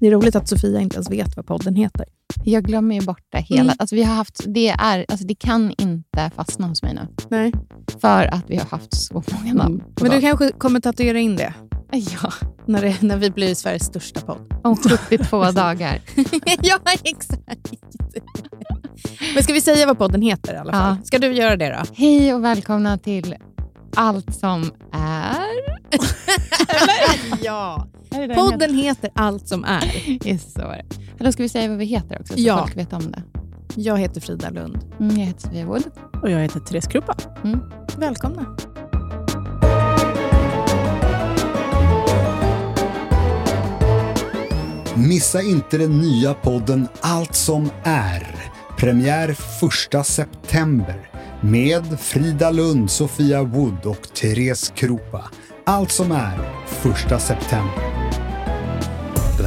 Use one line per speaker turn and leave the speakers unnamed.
Det är roligt att Sofia inte ens vet vad podden heter.
Jag glömmer ju bort det hela.
Mm.
Alltså, vi har haft, det, är, alltså, det kan inte fastna hos mig nu.
Nej.
För att vi har haft så många namn. på
Mm. Men du
dagen.
kanske kommer tatuera in det
Ja,
när, det, när vi blir Sveriges största podd.
om 72 dagar.
ja, exakt. Men ska vi säga vad podden heter i alla fall?
Ja.
Ska du göra det då?
Hej och välkomna till allt som är...
ja.
är det Podden!
Podden heter Allt som är.
Yes, så är det. Eller ska vi säga vad vi heter också, så
Ja.
folk vet om det?
Jag heter Frida Lund.
Mm, jag heter Sofia Wood.
Och jag heter Therese Kruppa.
Välkomna.
Missa inte den nya podden Allt som är. Premiär 1 september med Frida Lund, Sofia Wood och Therese Kropa. Allt som är 1 september.
Den